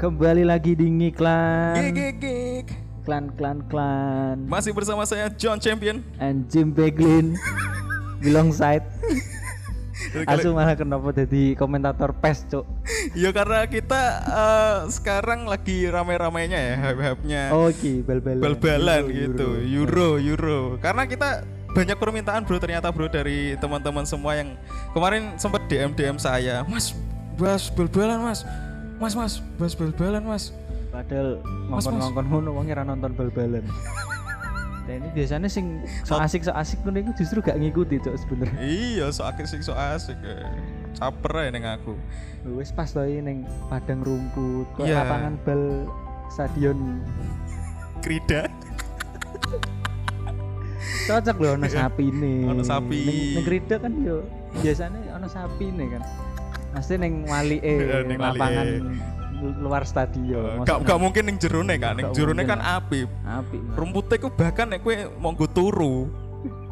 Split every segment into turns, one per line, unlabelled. Kembali lagi di
Gig,
ngiklan
gig, gig.
Klan klan klan
Masih bersama saya John Champion.
And Jim Beglin Belong side
Jadi kalau-
Asu malah kenapa jadi komentator pes cok
Ya karena kita eh, sekarang lagi rame-ramenya ya hype-hype-nya
Oke bal balan
bal-balan gitu, euro, euro. Karena kita banyak permintaan bro ternyata bro dari teman-teman semua yang kemarin sempat DM DM saya, Mas, bahas bal-balan Mas. Mas, Mas, bahas bal-balan Mas.
Padahal
Mas, mas.
ngongkon-ngongkon ngono wong ora nonton bal-balan Dan ini biasanya sing so asik so asik ngono iku justru gak ngikuti cok sebenernya
Iya, so asik so asik. eh. Caper ya neng aku.
Wes pas to ning padang rumput kok
Iya.
lapangan bal stadion
Krida.
cocok loh ono sapi nih
Ono sapi.
neng kerida kan yo biasanya ono sapi nih kan pasti neng wali eh
Neng walike. Eh,
lapangan lu- luar stadion
Gak, gak mungkin neng jerone kan, neng
Gak
jerone
mungkin.
kan api.
api
rumputnya ku bahkan nek kue monggo turu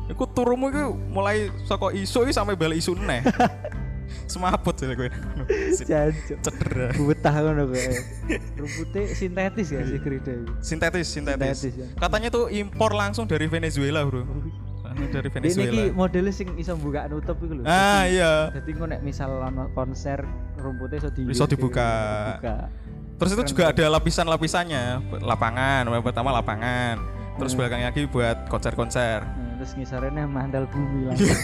iku turumu iku mulai saka isu iki sampai balik isu neh semaput sih kue
jancuk
cedera
betah ngono kowe rumputnya sintetis ya si kerida itu
sintetis sintetis,
Sintetis, ya.
katanya tuh impor langsung dari Venezuela bro Ini dari
Dek niki
Venezuela
modelnya sing iso buka nutup iku lho
ah iya
jadi kok nek misal ono konser rumputnya iso di
Iso dibuka. terus itu juga ada lapisan-lapisannya lapangan pertama lapangan terus belakangnya lagi buat konser-konser
Nah, Eh, terus ngisarannya mandal bumi langsung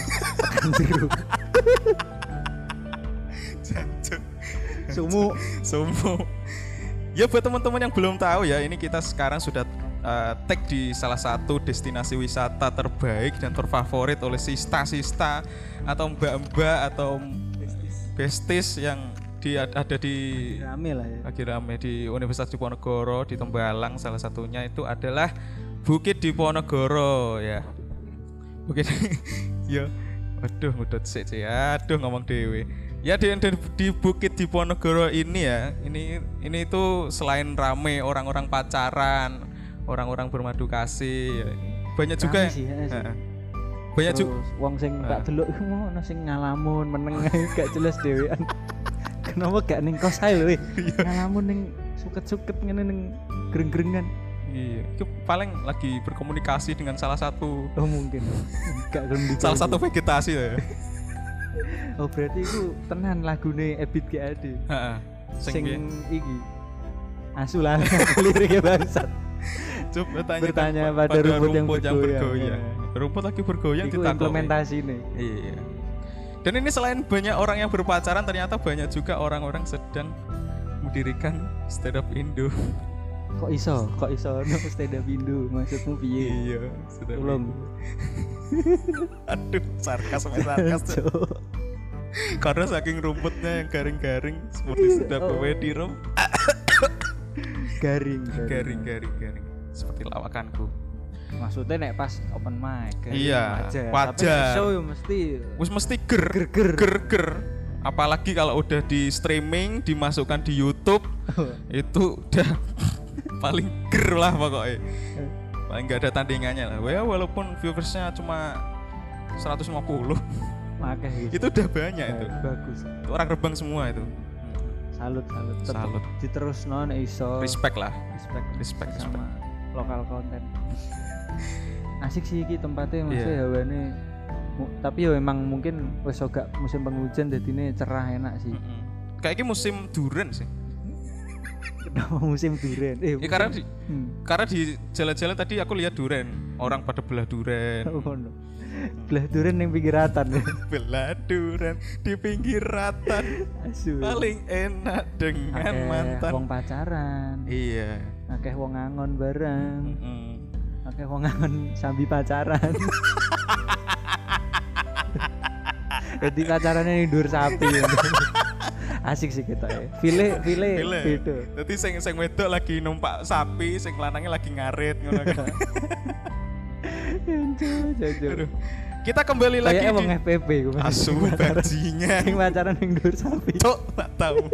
tekan jeruk sumu
Sombong. Ya buat teman-teman yang belum tahu ya, ini kita sekarang sudah eh, tag di salah satu destinasi wisata terbaik dan terfavorit oleh sista-sista atau mbak-mbak atau bestis yang di ada di
rame lah ya
lagi rame di Universitas Diponegoro di Tembalang salah satunya itu adalah Bukit Diponegoro ya. Bukit ya. Aduh ngedot sik sik. Aduh ngomong dewe. Ya di, di, di Bukit Diponegoro ini ya, ini ini itu selain rame orang-orang pacaran, orang-orang bermadu kasih, ya. banyak
Rame
juga
sih, ya, sih.
Heeh. banyak
Terus
juga
wong sing tak delok iku mau ono sing ngalamun meneng ae, gak jelas dhewean. Kenapa gak ning kos ae lho weh. Ngalamun ning suket-suket ngene ning greng-grengan.
iya, itu paling lagi berkomunikasi dengan salah satu
Oh mungkin. Gak gelem dicari.
salah satu vegetasi lah ya.
Oh berarti iku tenan lagune Ebit GAD.
Heeh.
Sing,
Sing piye?
iki. Asu lah liriknya bangsat.
Coba tanya
Bertanya pada rumput yang bergoyang.
Rumput lagi bergoyang
Iku
ditakoni.
implementasi nih.
Iya. Dan ini selain banyak orang yang berpacaran, ternyata banyak juga orang-orang sedang mendirikan stand up Indo.
Kok iso? Kok iso ono stand up Indo? Maksudmu piye?
Iya, stand up
Tolong.
Indo. Aduh, sarkas sama sarkas. tuh. Karena saking rumputnya yang garing-garing seperti stand up
Oh.
comedy room.
Garing,
Garing-garing garing. Seperti lawakanku.
maksudnya nek pas open mic kayak
Iya,
wajar,
wajar.
Tapi nek show ya mesti
Wis mesti ger
Ger, ger.
ger ger. Apalagi kalau udah di streaming, dimasukkan di YouTube, itu udah paling ger lah pokoknya. Paling nggak ada tandingannya lah. Ya, walaupun viewersnya cuma 150,
makasih gitu.
itu udah banyak itu.
bagus
Itu orang Rebang semua itu.
salut salut Tetep
Salut.
diterusno nek iso
Respect lah.
respect
respect,
sama lokal konten asik sih iki tempatnya maksudnya
Iya.
hawane mu- tapi ya emang mungkin wis gak musim penghujan jadi ini cerah enak sih
Mm-mm. Kayaknya Hmm. musim duren sih.
kenapa musim durian eh
Ya, karena di
hmm.
karena di jalan-jalan tadi aku lihat duren, orang pada belah duren.
Oh, no. belah durian yang pinggir ratan
belah duren di pinggir ratan
asu
paling enak dengan
Akeh
mantan.
wong pacaran
Iya. Hmm.
akeh wong ngangon bareng
Mm-mm.
akeh wong ngangon sambil pacaran jadi pacarannya ini dur sapi asik sih kita ya file file
Gila.
gitu
Dadi sing sing wedok lagi numpak sapi, sing lanangnya lagi ngarit ngono kan.
jojo
Aduh. Kita kembali lagi
kayak wong
di
FPP gue
asu
sing
bajingan.
pacaran yang dur sapi
Cok, tak tahu.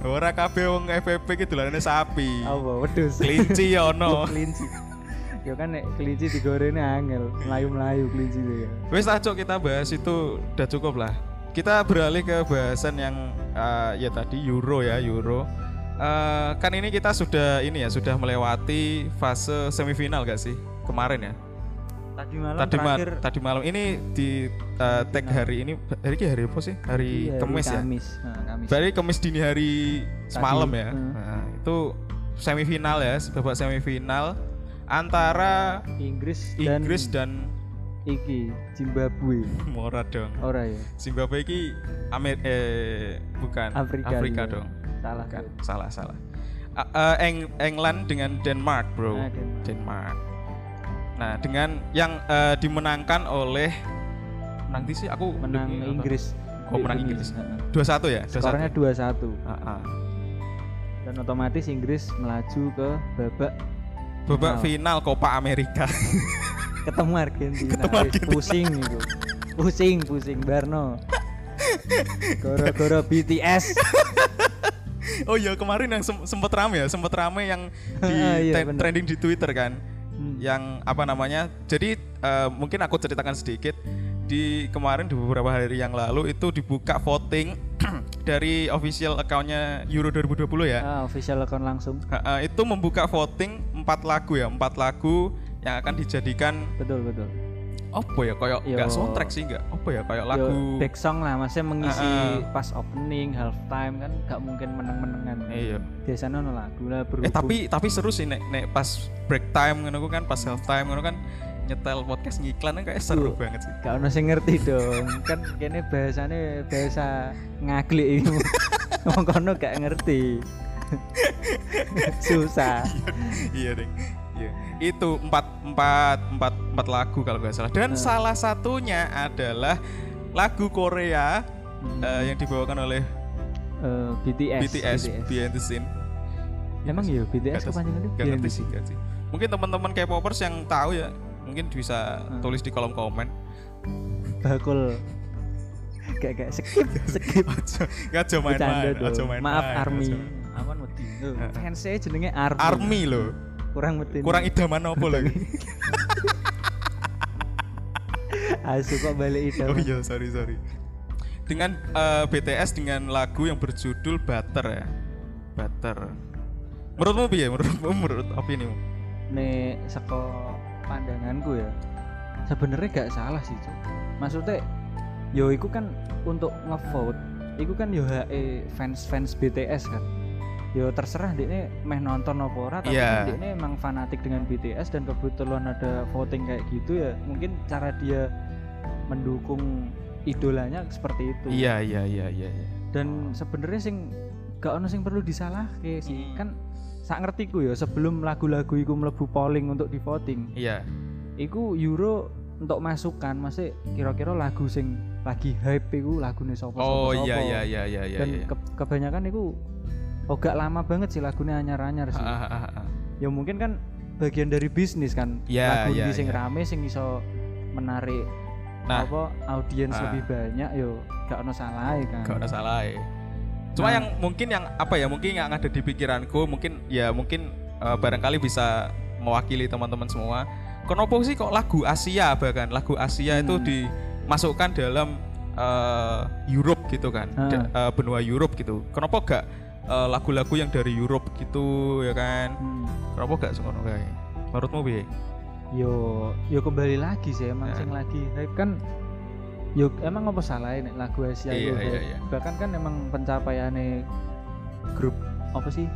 Ora kabeh wong FPP ki dolanane sapi.
apa wedus
Kelinci ya ono.
kelinci ya kan nek kelinci digorengnya angel melayu melayu kelinci itu ya
Wes lah Cok, kita bahas itu udah cukup lah. Kita beralih ke bahasan yang eh, ya tadi euro ya, euro. eh, kan ini kita sudah ini ya sudah melewati fase semifinal gak sih kemarin ya
Tadi malam
tadi ma-
terakhir
tadi malam ini di eh, tag hari ini hari ini hari apa sih hari,
iya, hari
Kamis ya
Kamis. Nah, Kamis.
Berarti Kamis dini hari semalam ya.
heeh.
Nah, itu semifinal ya, babak semifinal antara
Inggris dan
Inggris dan
iki Zimbabwe.
Mora dong.
Ora ya.
Zimbabwe ini Amer eh bukan
Afrika.
Afrika
iya.
dong.
Salah
Bukan,
kan.
Iya. salah salah. A- eh, Eng- England dengan Denmark, Bro.
Ah, Denmark.
Denmark. Nah, dengan yang eh, dimenangkan oleh nanti sih aku
Menang
lupa.
Inggris.
Oh,
Ini,
menang Inggris.
heeh.
2-1 ya? 2-1.
Skornya 2-1
Ah, ah.
dan otomatis Inggris melaju ke babak
Babak final Copa America.
ketemu Argentina.
Ketemu
Wih,
Argentina.
Pusing itu. Pusing, pusing Barno. Goro-goro BTS.
Oh iya kemarin yang sem- sempet rame ya, sempet rame yang di
Ah, iya,
te-
bener.
trending di Twitter kan.
Hmm.
Yang apa namanya? Jadi eh, mungkin aku ceritakan sedikit di kemarin di beberapa hari yang lalu itu dibuka voting dari official accountnya Euro 2020 ya.
Ah, official account langsung.
Ha, eh, itu membuka voting empat lagu ya, empat lagu yang akan dijadikan
Betul, betul.
apa ya kayak
Yo.
enggak soundtrack sih enggak apa ya kayak
Yo,
lagu
back song lah, maksudnya mengisi
Ah,
pas opening, half time kan nggak mungkin meneng-menengan.
Iya.
Biasanya ono lagu lah berhubung.
Eh tapi tapi seru sih nek nek pas break time ngono ku kan pas self time ngono kan nyetel podcast ngiklan kayak
Tuh.
seru banget sih.
Gak ono sing ngerti dong. kan kene bahasane bahasa ngaglik iku. Wong kono gak ngerti. Susah.
iya deh. Iya. Itu empat empat empat empat lagu kalau nggak salah.
Nah.
Dan salah satunya adalah lagu Korea eh, yang dibawakan oleh
Eh, BTS,
BTS, Behind the Scene.
Emang ya BTS
Nggak
kepanjangannya
Gak
BTS.
ngerti sih, nggak sih. Mungkin teman-teman K-popers yang tahu ya mungkin bisa
Nah.
tulis di kolom komen.
Bakul. Gak gak skip skip.
Gak cuma
Bercanda
main-main,
dong.
aja main-main,
Maaf
aja
Army.
main.
Aman wedi. Fans saya jenenge Army.
Army loh.
Kurang wedi.
Kurang idaman apa lagi?
Asu kok balik itu.
Oh iya, sorry sorry. Dengan eh, BTS dengan lagu yang berjudul Butter ya. Butter. Menurutmu piye? Menurutmu menurut opinimu?
Nek seko pandanganku ya. Sebenarnya gak salah sih, Cuk. Maksudnya yo iku kan untuk ngevote, iku kan yo hae fans-fans BTS kan. Yo terserah dekne meh nonton apa ora tapi kan
Iya.
dekne emang fanatik dengan BTS dan kebetulan ada voting kayak gitu ya. Mungkin cara dia mendukung idolanya seperti itu.
Iya iya iya iya. iya.
dan sebenarnya sing gak ono sing perlu disalahke sih
Mm.
kan sak ngertiku ya sebelum lagu-lagu iku mlebu polling untuk di voting
Iya.
iku euro untuk masukan masih kira-kira lagu sing lagi hype iku lagune sapa
Oh
sapa,
iya
sapa.
iya iya iya iya.
dan
iya.
ke- kebanyakan iku oh gak lama banget sih lagunya anyar-anyar sih
Ah, ah, ah, ah.
ya mungkin kan bagian dari bisnis kan
Ya,
lagu
ya,
ini sing
ya.
rame sing iso menarik
Nah.
apa audiens
Ah.
lebih banyak yo gak ono salah kan
Gak ada salah ya. Cuma
Nah.
yang mungkin yang apa ya? Mungkin yang ada di pikiranku mungkin ya mungkin eh, barangkali bisa mewakili teman-teman semua. Kenapa sih kok lagu Asia bahkan lagu Asia itu
Hmm.
dimasukkan dalam eh, Europe gitu kan?
Ah.
Da- eh, benua Europe gitu. Kenapa gak eh, lagu-lagu yang dari Europe gitu ya kan?
Hmm.
Kenapa gak sekono kayak? Menurutmu piye?
yo yo kembali lagi sih
Ya.
emang sing lagi hype kan yo emang apa salah ini lagu Asia
Iya,
itu
iya,
hype.
iya.
bahkan kan emang pencapaiannya grup apa sih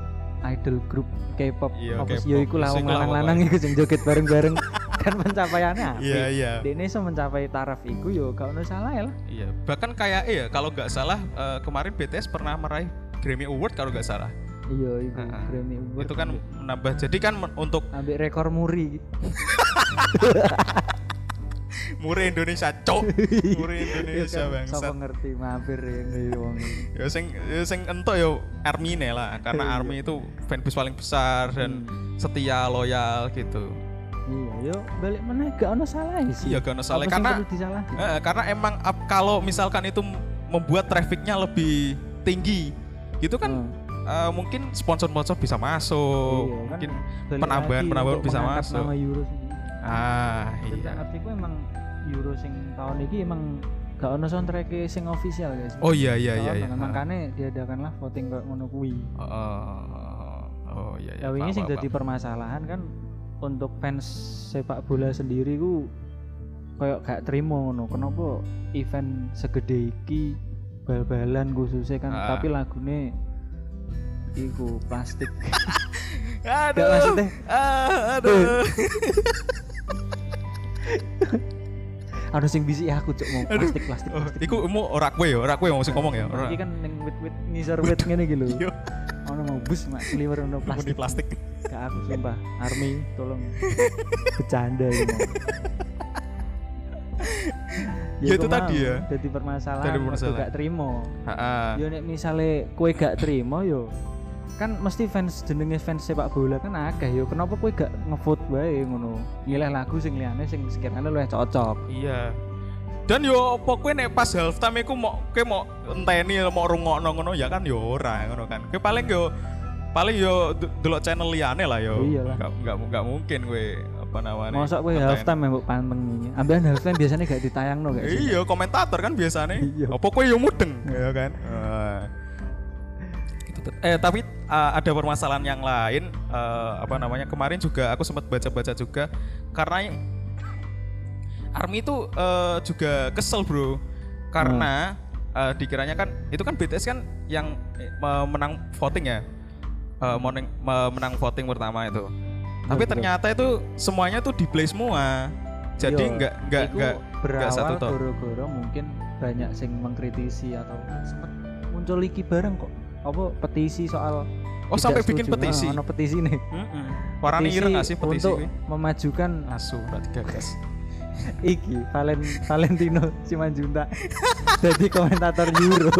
idol grup K-pop
Iya,
apa sih
K-pop.
yo iku
Iya,
lah wong
iku lah
lanang-lanang
pokoknya.
iku sing joget bareng-bareng kan pencapaiannya
Iya
apik.
iya.
Dene iso mencapai taraf iku yo gak ono salah ya lah
Iya, bahkan kayak ya kalau nggak salah eh, kemarin BTS pernah meraih Grammy Award kalau nggak salah.
iya iku
Heeh.
Grammy Award
itu kan
ambek-
menambah jadi kan men- untuk
ambek rekor muri
muri Indonesia cok muri
Iya
Indonesia
kan,
bangsat
sapa ngerti mampir ini wong
ya sing ya sing entuk ya army ne lah karena
Iya.
army itu fanbase paling besar dan setia loyal gitu
iya yo balik mana gak ono salah sih
iya gak ada salah
Apa sih
karena
perlu disalahin?
eh, karena emang ap- kalau misalkan itu m- membuat trafficnya lebih tinggi itu kan
Hmm.
eh, mungkin sponsor-sponsor bisa masuk
Iya, kan
mungkin
balik
penambahan
lagi
penambahan
untuk
bisa
mengangkat
masuk
nama Euro sendiri.
ah
Dan
iya
tak ngerti ku emang Euro sing tahun ini emang gak ono soundtrack sing official guys
Oh iya iya
Gak
iya.
ono,
iya.
kan. makanya diadakanlah voting kayak ngono kuwi
Oh, oh, oh iya
ya
iya.
wingi
paham,
sing
paham,
dadi
paham.
permasalahan kan untuk fans sepak bola sendiri ku kayak gak terima
Hmm.
ngono kenapa event segede iki bal-balan khususnya kan
Ah.
tapi lagune iku plastik
Aduh.
gak maksudnya
ah, aduh.
harus yang bisik aku cok mau
Aduh.
plastik plastik
Oh,
plastik
iku mu ora kowe ya, ora kowe yang maksud ngomong ya. Ora.
iki kan ning wit-wit ngisor wit ngene iki lho
Iya,
ono mau bus mak sliwer ono
muni
plastik
plastik.
gak aku sumpah army tolong bercanda ini mau.
Ya, itu tadi ya.
Jadi permasalahan,
Jadi
waktu
permasalahan. Ah.
gak terima.
Heeh.
Yo nek misale kowe gak terima yo kan mesti fans jenenge fans sepak bola kan akeh yo kenapa kowe gak ngevote wae ngono. Milih lagu sing liyane sing sekirane luwih cocok.
Iya. Dan yo apa kowe nek pas half time iku mau kowe mau enteni mau rungokno ngono ya kan yo ora ngono kan. Kowe paling yo paling yo d- delok channel liyane lah yo.
Iya lah.
Nggak- nggak nggak mungkin kowe apa namanya.
Mosok kowe
ngenteni.
halftime time mbok pantengi. Ambekan half time biasanya gak ditayangno gak sih?
Iya, komentator kan biasanya.
gitu. Iya.
Apa kowe yo mudeng, ya kan? Eh. Itu tet- Eh tapi eh, ada permasalahan yang lain eh, apa namanya? Kemarin juga aku sempat baca-baca juga karena Army itu eh, juga kesel, Bro. Karena eh, dikiranya kan itu kan BTS kan yang eh, me- menang voting ya. Eh, morning- me- menang voting pertama itu. Tapi
Betul.
ternyata itu semuanya tuh di play semua. Jadi
Yo,
nggak nggak
iku
nggak nggak
berawal
satu ton.
goro-goro mungkin banyak sing mengkritisi atau kan sempet muncul iki bareng kok apa petisi soal
Oh
tidak
sampai bikin
setuju.
petisi.
Ah, ono petisi nih
Heeh. Warani ireng nggak sih petisi
untuk
kuwi?
memajukan
Asu mbak digagas.
iki Valen Valentino Simanjunta jadi komentator Euro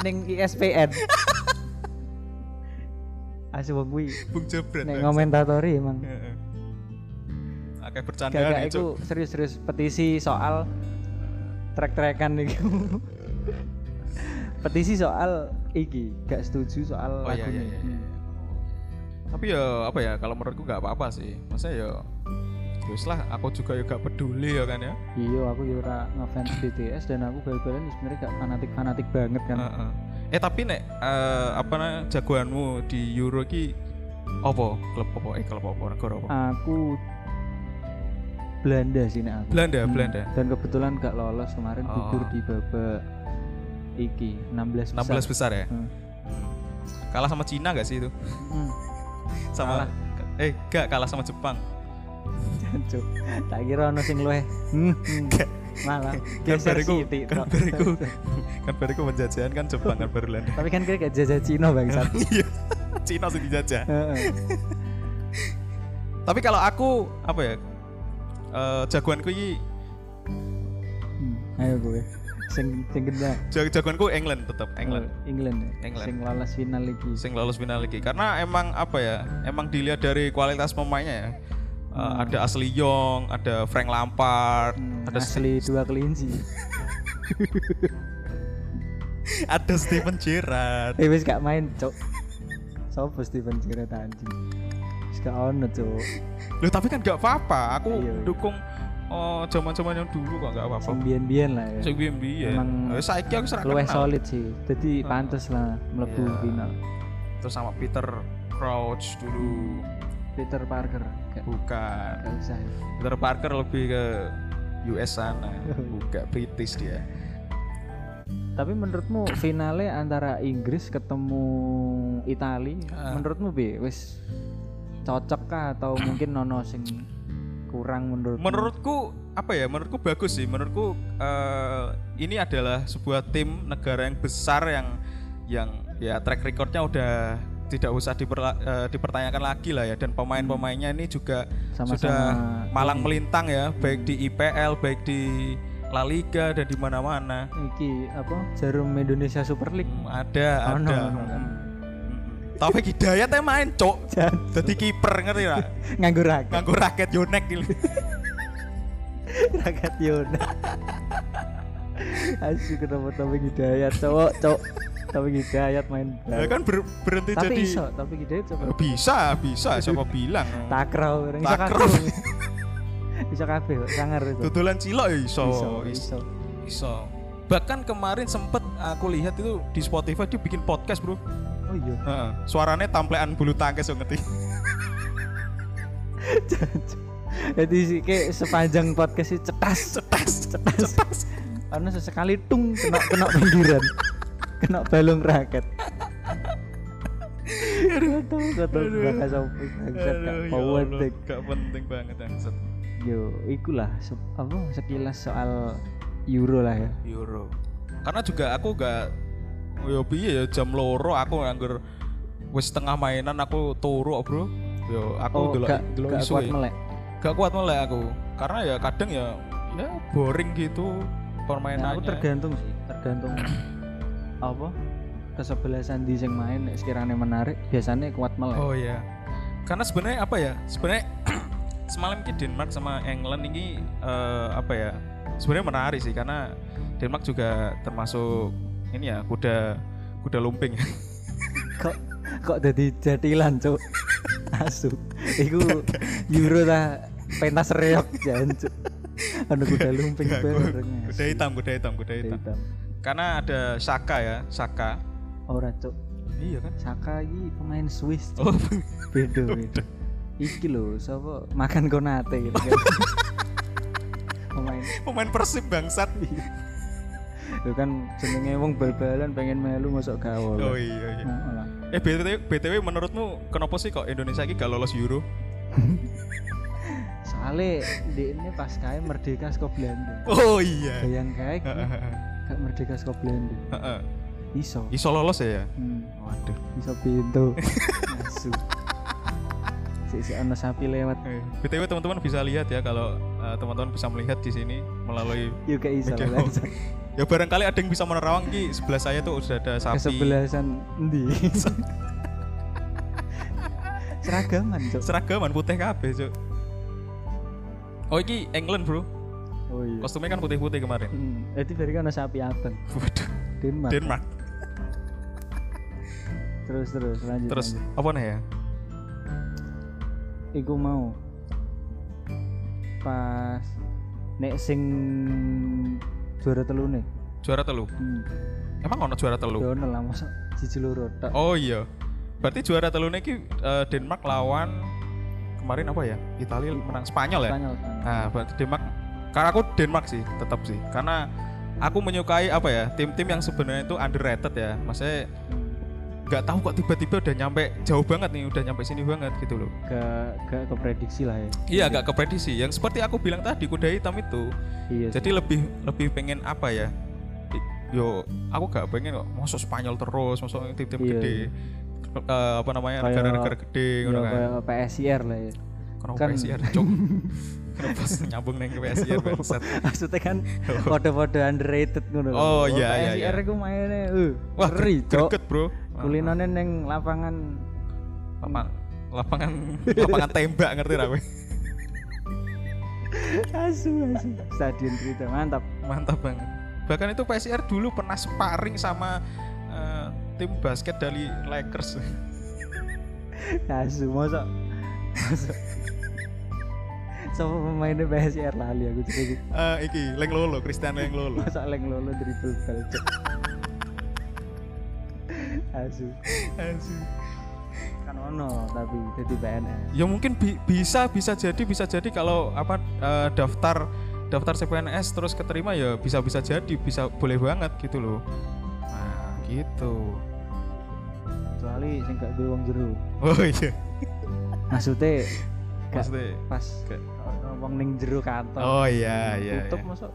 ning E ISPN asu wong kuwi
Bung Jebret.
nek komentatori emang
Heeh. Akeh bercandaan
gak
itu. Oh,
iku serius-serius petisi soal trek-trekan iku. petisi soal iki gak setuju soal
Oh iya
lagu
iya iya. iya. Tapi ya apa ya kalau menurutku nggak apa-apa sih. Maksudnya ya terus lah aku juga ya gak peduli ya kan ya.
Iya, aku ya ora ngefans BTS dan aku bal-balan ya sebenarnya gak fanatik-fanatik banget kan.
Heeh. Eh tapi nek eh, apa namanya jagoanmu di Euro ki opo? Klub opo? Eh klub opo? Negara
Hmm.
opo?
Aku Belanda sih nek aku.
Belanda,
Hmm.
Belanda.
Dan kebetulan gak lolos kemarin
Oh.
gugur di babak iki 16 besar.
16 besar ya.
Hmm.
Kalah sama Cina gak sih itu?
Hmm.
Sama eh gak kalah sama Jepang.
Jancuk. Tak kira ono sing luweh. Hmm. hmm. Malah geser
bariku-
sithik
kan
tok.
bariku kan bariku penjajahan kan Jepang kan Belanda
Tapi kan kira gak jajah Cina bangsat.
iya Cina sih dijajah
Heeh.
tapi kalau aku apa ya eh, jagoanku ini
Hmm, Ayo gue. Sing sing gendang.
jag- jagoanku England tetap England
Oh, England. ya?
England.
Sing lolos final iki.
sing lolos final lagi karena emang apa ya emang dilihat dari kualitas pemainnya ya Eh, ada Ashley Young ada Frank Lampard
Hmm,
ada
asli dua kelinci.
ada Steven Gerrard
eh wis gak main, Cok. Sopo Steven cerita anjing. Wis gak ono, Cok.
Loh, tapi kan gak apa-apa aku
Iya, iya.
dukung oh zaman-zaman yang dulu kok gak apa-apa
Sing biyen-biyen lah ya.
Oh. Sing biyen-biyen.
Emang
Eh, saiki aku serak
Luwih
kenal.
solid sih. Jadi pantas lah mlebu
Oh. Iya.
final.
terus sama Peter Crouch dulu
Peter Parker gak,
bukan
gak usah. ya.
Peter Parker lebih ke US sana bukan British dia
Tapi menurutmu finale antara Inggris ketemu Itali,
Ah.
menurutmu bi wis cocok kah atau mungkin nono sing kurang menurut
menurutku apa ya menurutku bagus sih menurutku eh, ini adalah sebuah tim negara yang besar yang yang ya track recordnya udah tidak usah diperla- eh, dipertanyakan lagi lah ya dan pemain-pemainnya ini juga
Sama-sama
sudah malang melintang ya baik di IPL baik di La Liga dan di mana-mana
iki apa jarum Indonesia Super League?
Hmm, ada
Ono,
ada
ono kan.
Taufik Hidayat teh main cok jadi kiper ngerti lah
Nganggur rakyat,
nganggo raket Yonek gitu
rakyat Yona. Asyik ketemu tapi Hidayat cowok cowok tapi Hidayat main
ya
bola.
kan ber- berhenti
Tapi
jadi
iso, tapi Hidayat coba
bisa bisa siapa bilang
takraw, orang iso
Takraw.
kaku. bisa kabeh kok sangar itu.
Tutulan cilok ya iso.
Bisa,
Is-
bisa.
Iso. Bahkan kemarin sempet aku lihat itu di Spotify dia bikin podcast, Bro.
Oh iya.
Heeh. Suaranya tamplean bulu tangkis yo ngerti.
Jadi sih kayak sepanjang podcast sih cetas,
Cetas, cetas, cetas.
karena sesekali tung kena kena pinggiran, kena balung raket. Kata kata bakal sampai bangsat gak
Aduh, ya
power
Allah,
dek.
gak penting banget bangsat.
Yo, ikulah se- apa sekilas soal Euro lah ya.
Euro. Karena juga aku gak yo piye ya jam loro aku nganggur wis setengah mainan aku turu bro. Yo aku
Oh,
delok
gak,
delok
gak
isu
kuat
ya.
melek.
Gak kuat mulai aku. Karena ya kadang ya ya boring gitu
Nah,
permainannya.
aku tergantung sih, tergantung apa kesebelasan di sing main nek sekiranya menarik biasanya kuat melek.
Oh ya. Karena sebenarnya apa ya? Sebenarnya semalam ini Denmark sama England ini eh, apa ya? Sebenarnya menarik sih karena Denmark juga termasuk ini ya kuda kuda lumping.
Kok kok jadi jatilan, Cuk. Asu. Iku Euro ta pentas reok jan, Cuk. Anu kuda lumping
Enggak,
bareng.
ku- kuda
asu.
hitam, kuda hitam, kuda
Kuda
hitam.
hitam.
Karena ada Saka ya, Saka.
Ora, Cuk.
Iya kan?
Saka iki pemain Swiss, Cuk.
Oh,
Beda, beda. Iki lho, sapa makan konate gitu. kan. pemain
pemain Persib bangsat.
Lu kan jenenge wong bal-balan pengen melu masuk gaul.
Oh iya iya. Eh BTW, BTW menurutmu kenapa sih kok Indonesia ini gak lolos Euro?
Soale di ini pas kae merdeka saka Belanda.
Oh iya.
Bayang kae iki gak merdeka saka Belanda.
Heeh.
Iso.
Iso lolos ya ya?
Hmm,
Waduh.
iso pintu. Asu. Sik-sik ana sapi lewat.
Eh, BTW teman-teman bisa lihat ya kalau eh, teman-teman bisa melihat di sini melalui
Yo gak iso
Media
lah.
Hall. ya barangkali ada yang bisa menerawang ki sebelah saya tuh sudah ada sapi
Kesebelasan endi? Seragaman, Cuk.
seragaman putih kabeh cuk. Oh iki England bro,
Oh iya.
kostumnya kan putih-putih kemarin.
Hmm, jadi bari kan ana sapi abang.
Waduh,
Denmark.
Denmark.
Terus terus lanjut.
Terus
lanjut.
apa nih ya?
iku mau pas nek sing juara telu nih
Juara telu.
hmm.
Emang ono juara telu?
Dono lah masa siji loro tok
Oh iya. Berarti juara telune ki eh, Denmark lawan kemarin apa ya? Italia menang Spanyol ya?
Spanyol Spanyol.
Nah, berarti Denmark. Karena aku Denmark sih, tetap sih. Karena aku menyukai apa ya? Tim-tim yang sebenarnya itu underrated ya. Maksudnya
Hmm.
nggak tahu kok tiba-tiba udah nyampe jauh banget nih, udah nyampe sini banget gitu loh.
gak gak keprediksi lah ya
Iya, agak keprediksi. Yang seperti aku bilang tadi kuda hitam itu.
iya sih.
Jadi lebih lebih pengen apa ya? I- Yo, aku gak pengen kok masuk Spanyol terus, masuk tim-tim
Iya,
gede. Eh, apa namanya?
Kayak-
negara-negara gede
ya
ngono kan.
kayak PSIR lah ya
Kenapa
kan-
PSIR, Cok? Kenapa nyambung neng ke PSIR bangsat?
maksudnya kan kode-kode underrated ngono kan.
Oh, iya, iya, iya.
PSIR iku mainnya uh,
Wah,
ngeri cok
greget, Bro.
kulinane neng lapangan
Lapangan lapangan lapangan tembak ngerti ra kowe?
asu asu stadion cerita mantap
Mantap banget. Bahkan itu PSIR dulu pernah sparring sama eh, tim basket dari Lakers.
Asu, masa masa Sama pemainnya PSR lali aku juga gitu.
Eh, iki Leng Lolo, Christian Leng Lolo.
Masa leng lolo dribble bal Cuk. Asu Kan ono tapi jadi PNS
ya mungkin bi- bisa bisa jadi bisa jadi kalau apa eh, daftar daftar CPNS terus keterima ya bisa bisa jadi bisa boleh banget gitu loh nah gitu
Kecuali sing gak duwe wong jero
oh iya
Maksudnya gak
maksudnya
pas
gak-
ono wong ning jero kantor
oh iya iya,
Tutup
iya. Oh.
masa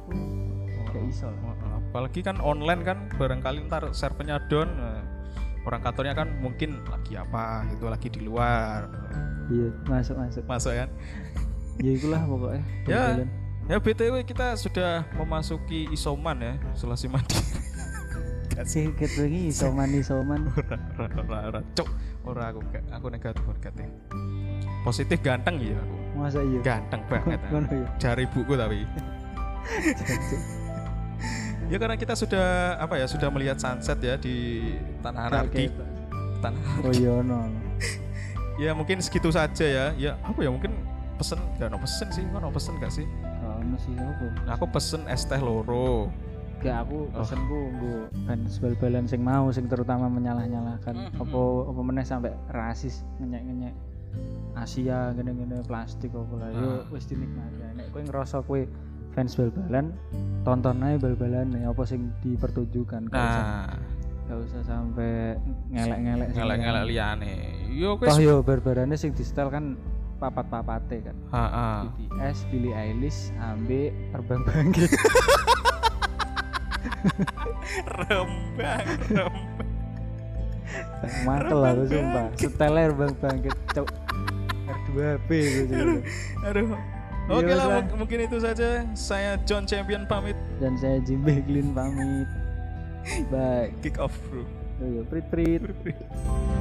gak iso lah
apalagi kan online kan barangkali ntar servernya down eh, orang kantornya kan mungkin lagi apa gitu lagi di luar
Iya masuk masuk
masuk kan
Ya ikulah pokoknya
Ya.
Kebetulan.
ya btw kita sudah memasuki isoman ya isolasi mandiri
Sih gitu lagi isoman isoman
ora ora ora ora cok ora aku ga- aku negatif negatif positif ganteng ya aku
Masa iya
ganteng banget aku.
Ngono ya
dari buku tapi
Jancuk.
ya karena kita sudah apa ya sudah melihat sunset ya di tanah anarki
Kaget.
tanah
Oh iya no.
ya mungkin segitu saja ya ya apa ya mungkin pesen gak no pesen sih kok no pesen gak sih
Oh, masih apa?
nah, aku pesen es teh loro
Gak aku pesenku nggo ban bal-balan sing mau sing terutama menyalah-nyalahkan
Mhm.
apa apa meneh sampai rasis ngenyek-ngenyek Asia ngene-ngene plastik apa lah yo
Ah.
wis dinikmati ae. nek kowe ngerasa kowe fans bal-balan tonton aja bal-balan ya apa sing dipertunjukkan gak usah
nah
gak usah sampai ngelek-ngelek sing
ngelak ngelak
liyan.
liane yo
toh
guys
yo barbarane sing di setel kan papat-papate kan
ha ha
BTS, Billie Eilish, ambek Terbang Bangkit
rembang rembang
Mantel aku sumpah. Seteler bang bangkit cok. R2B gitu.
aduh
Iya,
Oke lah,
Mas, lah.
mung- mungkin itu saja. Saya John Champion pamit.
Dan saya Jim Beglin pamit. Bye.
Kick off, bro.
Oh iya, prit prit.
Prit, prit.